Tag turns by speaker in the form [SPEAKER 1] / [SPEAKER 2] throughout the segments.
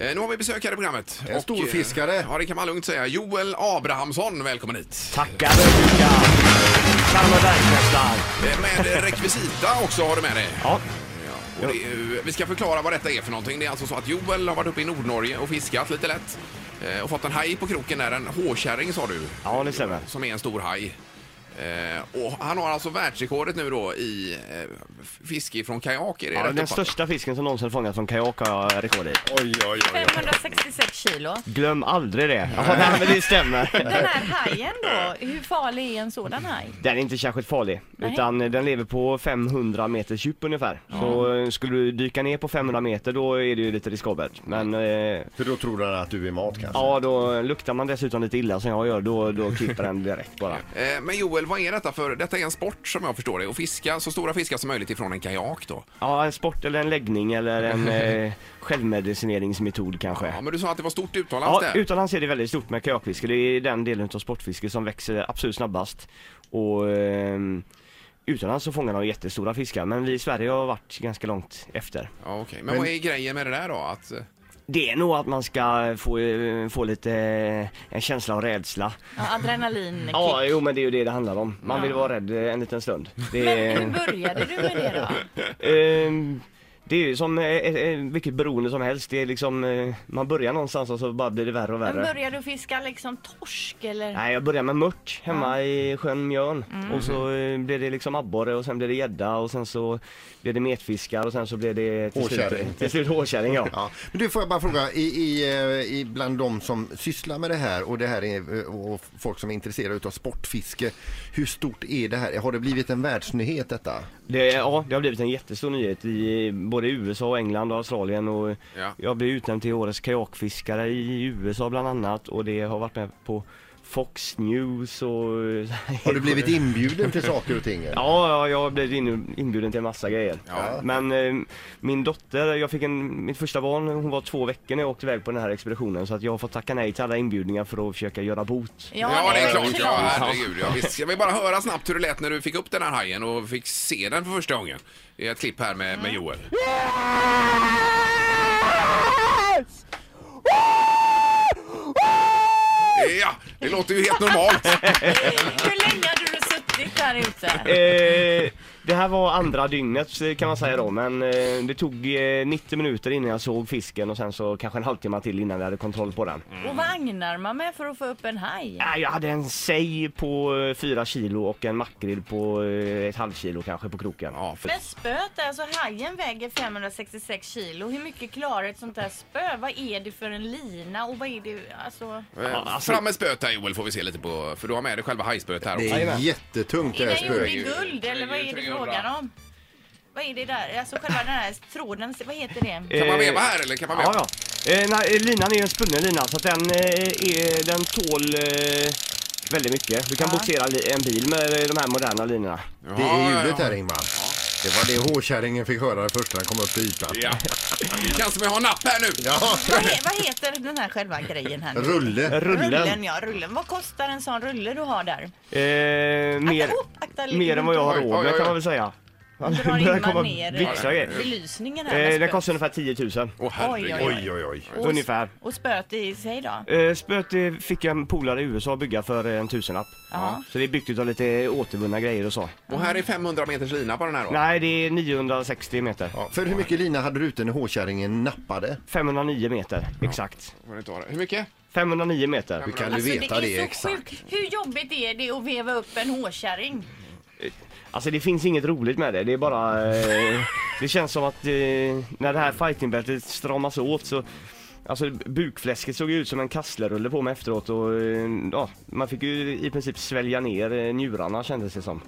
[SPEAKER 1] Eh, Nu har vi besök här i programmet.
[SPEAKER 2] En
[SPEAKER 1] Och,
[SPEAKER 2] storfiskare.
[SPEAKER 1] eh, Ja, det kan man lugnt säga. Joel Abrahamsson, välkommen hit.
[SPEAKER 3] Tackar, tackar. Fan vad bergfästar.
[SPEAKER 1] Eh, Med rekvisita också har du med dig.
[SPEAKER 3] Ja,
[SPEAKER 1] Och det är ju- vi ska förklara vad detta är för någonting. Det är alltså så att Joel har varit uppe i Nordnorge och fiskat lite lätt. eh, Och fått en haj på kroken där, en håkärring sa du,
[SPEAKER 3] ja det stämmer.
[SPEAKER 1] som är en stor haj. Eh, och han har alltså världsrekordet nu då i eh, f- fiske från kajak. Är det
[SPEAKER 3] Ja,
[SPEAKER 1] rätt
[SPEAKER 3] den
[SPEAKER 1] uppfattat?
[SPEAKER 3] största fisken som någonsin fångats från kajak har jag rekord i.
[SPEAKER 2] Oj, oj, oj.
[SPEAKER 4] 566 kilo.
[SPEAKER 3] Glöm aldrig det. Ja, nej, men det stämmer.
[SPEAKER 4] Den här hajen då, hur farlig är en sådan haj?
[SPEAKER 3] Den är inte särskilt farlig,
[SPEAKER 4] Nej.
[SPEAKER 3] utan den lever på 500 meters djup ungefär. Så eh, skulle du dyka ner på 500 meter då är det ju lite riskabelt. Men eh,
[SPEAKER 2] För då tror han att du är mat kanske.
[SPEAKER 3] ja, då luktar man dessutom lite illa som jag gör, då, då klipper den direkt bara.
[SPEAKER 1] Eh, Men Joel, vad är detta för? Detta är en sport som jag förstår det. Och fiska så stora fiskar som möjligt ifrån en kajak då.
[SPEAKER 3] Ja, en sport eller en läggning eller en eh, självmedicineringsmetod kanske.
[SPEAKER 1] Ja, men du sa att det var stort utomlands
[SPEAKER 3] Ja,
[SPEAKER 1] där.
[SPEAKER 3] utomlands är det väldigt stort med kajakfiske. Det är den delen av sportfiske som växer absolut snabbast. Och ehm, utomlands så fångar de jättestora fiskar, men vi i Sverige har varit ganska långt efter.
[SPEAKER 1] Ja, okej. Men, vad är grejen med det där då? Att, eh,
[SPEAKER 3] Det är nog att man ska få, eh, få lite eh, en känsla av rädsla.
[SPEAKER 4] Ja, adrenalinkick.
[SPEAKER 3] Ja, jo men det är ju det det handlar om. Man vill vara rädd eh, en liten stund. Det
[SPEAKER 4] Men hur
[SPEAKER 3] är,
[SPEAKER 4] började du med det då?
[SPEAKER 3] ehm, det är ju som eh, eh, vilket beroende som helst. Det är liksom, eh, man börjar någonstans och så bara blir det värre och
[SPEAKER 4] Men
[SPEAKER 3] värre.
[SPEAKER 4] började du fiska liksom torsk eller?
[SPEAKER 3] Nej, jag började med mört hemma i sjön Mjörn. Och så eh, blev det liksom abborre och sen blev det gädda och sen så blev det metfiskar och sen så blev det till
[SPEAKER 2] Hårkärring.
[SPEAKER 3] slut, till slut hårkärring. Ja.
[SPEAKER 2] Ja. Men du, får jag bara fråga, i, i, eh, i, bland de som sysslar med det här och det här är, eh, och folk som är intresserade av sportfiske, hur stort är det här? Har det blivit en världsnyhet detta?
[SPEAKER 3] Det, ja, det har blivit en jättestor nyhet i både USA, och England och Australien och
[SPEAKER 1] Ja.
[SPEAKER 3] jag blev utnämnd till årets kajakfiskare i USA bland annat och det har varit med på Fox News och...
[SPEAKER 2] Har du blivit inbjuden till saker och ting?
[SPEAKER 3] Ja, ja, jag blev in- inbjuden till en massa grejer.
[SPEAKER 1] Ja.
[SPEAKER 3] Men eh, min dotter, jag fick en, mitt första barn, hon var två veckor när jag åkte iväg på den här expeditionen så att jag har fått tacka nej till alla inbjudningar för att försöka göra bot.
[SPEAKER 1] ja,
[SPEAKER 4] Ja,
[SPEAKER 1] det är klart.
[SPEAKER 4] klart.
[SPEAKER 1] Ja, herregud, ja, visst. Jag vill bara höra snabbt hur det lät när du fick upp den här hajen och fick se den för första gången. Det är ett klipp här med, med Joel. Ja, det låter ju helt normalt.
[SPEAKER 4] Hur länge hade du suttit där ute?
[SPEAKER 3] Eh, det här var andra dygnet eh, kan man säga då men eh, det tog eh, 90 minuter innan jag såg fisken och sen så kanske en halvtimme till innan vi hade kontroll på den.
[SPEAKER 4] Och vad agnar man med för att få upp en haj?
[SPEAKER 3] Ja, jag hade en sej på eh, 4 kilo och en makrill på eh, ett halvkilo kanske på kroken.
[SPEAKER 1] Ja, för...
[SPEAKER 4] Men spöet, alltså hajen väger 566 kilo. Hur mycket klarar ett sånt där spö? Vad är det för en lina och vad är det, alltså?
[SPEAKER 1] eh,
[SPEAKER 3] alltså-
[SPEAKER 1] Fram med spöet här Joel får vi se lite på, för du har med dig själva hajspöet här
[SPEAKER 2] Det
[SPEAKER 1] också.
[SPEAKER 2] är
[SPEAKER 3] Jajamän.
[SPEAKER 2] jättetungt det
[SPEAKER 4] Är
[SPEAKER 2] här
[SPEAKER 4] den gjord i
[SPEAKER 2] spöet.
[SPEAKER 4] guld eller vad är det frågan om? Vad är det där? Alltså själva den här tråden, vad heter det?
[SPEAKER 3] Eh,
[SPEAKER 1] Kan man veva här eller kan man veva?
[SPEAKER 3] Ja, ja. Eh, nej, linan är ju en spunnen lina så att den, eh, är, den tål eh, väldigt mycket. Du kan boxera li- en bil med eh, de här moderna linorna.
[SPEAKER 2] Det är
[SPEAKER 1] Ja, ja,
[SPEAKER 2] ljudet
[SPEAKER 1] ja.
[SPEAKER 2] här Ingmar. Det var det hårkärringen fick höra först när han kom upp till ytan.
[SPEAKER 1] Ja. Det känns som jag har napp här nu.
[SPEAKER 2] Ja,
[SPEAKER 4] Vad, he, vad heter den här själva grejen här? nu?
[SPEAKER 2] rulle.
[SPEAKER 3] Rullen.
[SPEAKER 4] Rullen ja, rullen. Vad kostar en sån rulle du har där?
[SPEAKER 3] Eh, mer,
[SPEAKER 4] Akta- akta lite.
[SPEAKER 3] mer än vad jag har
[SPEAKER 1] Oj, oj,
[SPEAKER 3] råd med
[SPEAKER 1] oj.
[SPEAKER 3] kan man väl säga.
[SPEAKER 4] Drar
[SPEAKER 3] Det börjar
[SPEAKER 4] in man
[SPEAKER 3] komma
[SPEAKER 4] ner.
[SPEAKER 3] blixtar och grejer.
[SPEAKER 4] Belysningen här med
[SPEAKER 3] Eh, den
[SPEAKER 4] spöet.
[SPEAKER 3] kostar ungefär 10 000.
[SPEAKER 1] Åh herregud.
[SPEAKER 4] Oj,
[SPEAKER 2] Oj, oj, oj.
[SPEAKER 4] Och-
[SPEAKER 3] ungefär.
[SPEAKER 4] Och spöet i sig då?
[SPEAKER 3] Eh, spöet eh, fick jag en polare i USA bygga för eh, en tusenlapp.
[SPEAKER 4] Ja.
[SPEAKER 3] Så det är byggt av lite återvunna grejer och så.
[SPEAKER 1] Och här är 500 meters lina på den här då?
[SPEAKER 3] Nej, det är 960 meter.
[SPEAKER 2] Ja, för hur mycket lina hade du ute när hårkärringen nappade?
[SPEAKER 3] 509 meter, exakt.
[SPEAKER 1] Får ni ta det. Hur mycket?
[SPEAKER 3] 509 meter.
[SPEAKER 2] Hur kan du
[SPEAKER 4] Alltså
[SPEAKER 2] veta det,
[SPEAKER 4] det är så
[SPEAKER 2] exakt?
[SPEAKER 4] sjukt. Hur jobbigt är det att veva upp en hårkärring?
[SPEAKER 3] Alltså det finns inget roligt med det, det är bara... Eh, det känns som att eh, när det här fightingbältet stramas åt så... Alltså bukfläsket såg ju ut som en kasslerulle på mig efteråt och eh, ja, man fick ju i princip svälja ner eh, njurarna kändes det som.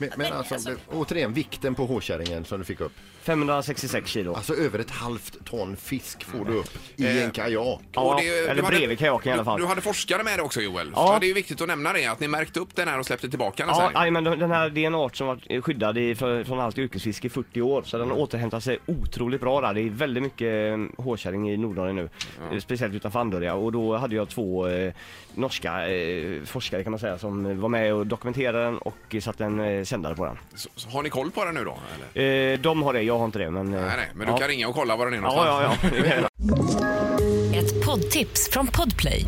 [SPEAKER 2] Men, men alltså, återigen, vikten på hårkärringen som du fick upp.
[SPEAKER 3] 566 kilo.
[SPEAKER 2] Alltså över ett halvt ton fisk får du upp i en kajak.
[SPEAKER 3] Ja,
[SPEAKER 1] Och det- du
[SPEAKER 3] eller
[SPEAKER 1] hade-
[SPEAKER 3] bredvid kajaken i alla
[SPEAKER 1] Du,
[SPEAKER 3] fall.
[SPEAKER 1] du hade forskare med dig också Joel.
[SPEAKER 3] Ja.
[SPEAKER 1] Ja. Det är ju viktigt att nämna det, att ni märkte upp den här och släppte tillbaka den
[SPEAKER 3] Ja,
[SPEAKER 1] sen.
[SPEAKER 3] aj, men den här, det är en art som varit skyddad i, för, från allt yrkesfiske i 40 år så
[SPEAKER 1] Mm.
[SPEAKER 3] den återhämtar sig otroligt bra där. Det är väldigt mycket eh, hårkärring i Nordnorge nu, eh, speciellt utanför Andorra och då hade jag två eh, norska eh, forskare kan man säga som var med och dokumenterade den och eh, satte en eh, sändare på den.
[SPEAKER 1] Så, så har ni koll på den nu då? Eller?
[SPEAKER 3] Eh, de har det, jag har inte det men... eh,
[SPEAKER 1] Nej, nej, men du
[SPEAKER 3] ja.
[SPEAKER 1] kan ringa och kolla var den är
[SPEAKER 3] Ja,
[SPEAKER 1] någonstans.
[SPEAKER 3] ja, ja.
[SPEAKER 5] poddtips från Podplay.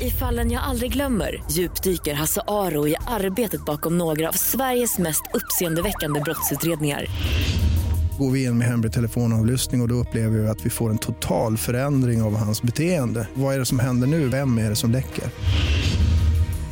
[SPEAKER 5] I fallen jag aldrig glömmer djupdyker Hasse Aro i arbetet bakom några av Sveriges mest uppseendeväckande brottsutredningar.
[SPEAKER 6] Går vi in med hemlig telefonavlyssning och, och då upplever vi att vi får en total förändring av hans beteende. Vad är det som händer nu? Vem är det som läcker?